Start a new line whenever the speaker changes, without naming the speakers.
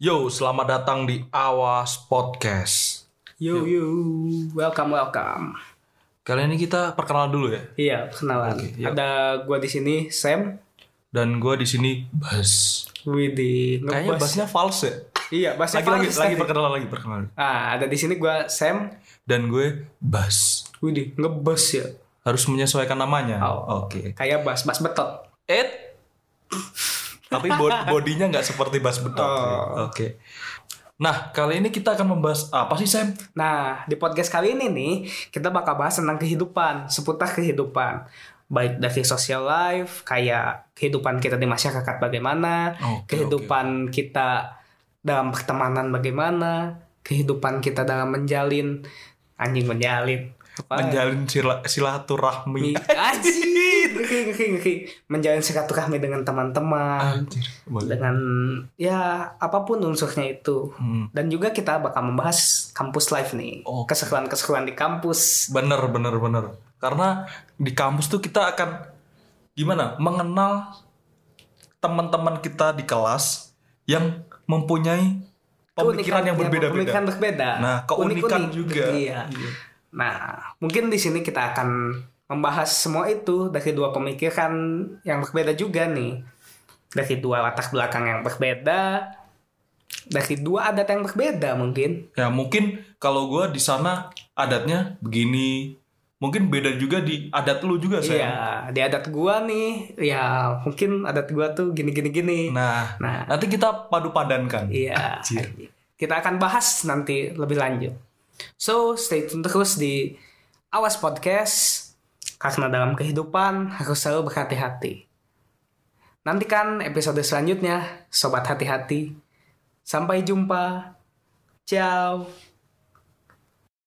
Yo, selamat datang di Awas Podcast.
Yo yo, welcome welcome.
Kali ini kita perkenalan dulu ya.
Iya, kenalan. Ada gua di sini Sam,
Dan gue di sini Bas.
Widi,
Kayaknya
ngebas.
Basnya false ya.
Iya, Bas
Lagi lagi lagi perkenalan lagi perkenalan.
Ah, ada di sini gua Sam,
Dan gue Bas.
Widi, ngebas ya.
Harus menyesuaikan namanya.
Oh.
Oke.
Kayak Bas, Bas betot.
Et. Tapi bod- bodinya nggak seperti Bas betul.
Oh.
Oke. Nah, kali ini kita akan membahas apa sih Sam?
Nah, di podcast kali ini nih, kita bakal bahas tentang kehidupan, seputar kehidupan. Baik dari social life, kayak kehidupan kita di masyarakat bagaimana,
Oke,
kehidupan kita dalam pertemanan bagaimana, kehidupan kita dalam menjalin, anjing menjalin. Apa?
Menjalin sila- silaturahmi.
Mi- Anjir, ngeri, ngeri, ngeri. menjalin silaturahmi dengan teman-teman,
Anjir. Boleh.
dengan ya apapun unsurnya itu.
Hmm.
Dan juga kita bakal membahas kampus life nih.
Oke.
Keseruan-keseruan di kampus.
Bener, bener, bener. Karena di kampus tuh kita akan gimana? Mengenal teman-teman kita di kelas yang mempunyai pemikiran yang
Keunikan- ya,
berbeda-beda.
Pemikiran berbeda.
Nah, keunikan
Unik-unik.
juga.
Iya.
Iya.
Nah, mungkin di sini kita akan membahas semua itu dari dua pemikiran yang berbeda juga nih. Dari dua latar belakang yang berbeda, dari dua adat yang berbeda mungkin.
Ya mungkin kalau gua di sana adatnya begini, mungkin beda juga di adat lu juga saya.
Iya, di adat gua nih, ya mungkin adat gua tuh gini-gini gini.
Nah,
Nah,
nanti kita padu padankan.
Iya.
Anjir.
Kita akan bahas nanti lebih lanjut. So, stay tune terus di Awas Podcast. Karena dalam kehidupan harus selalu berhati-hati. Nantikan episode selanjutnya, Sobat Hati-Hati. Sampai jumpa. Ciao.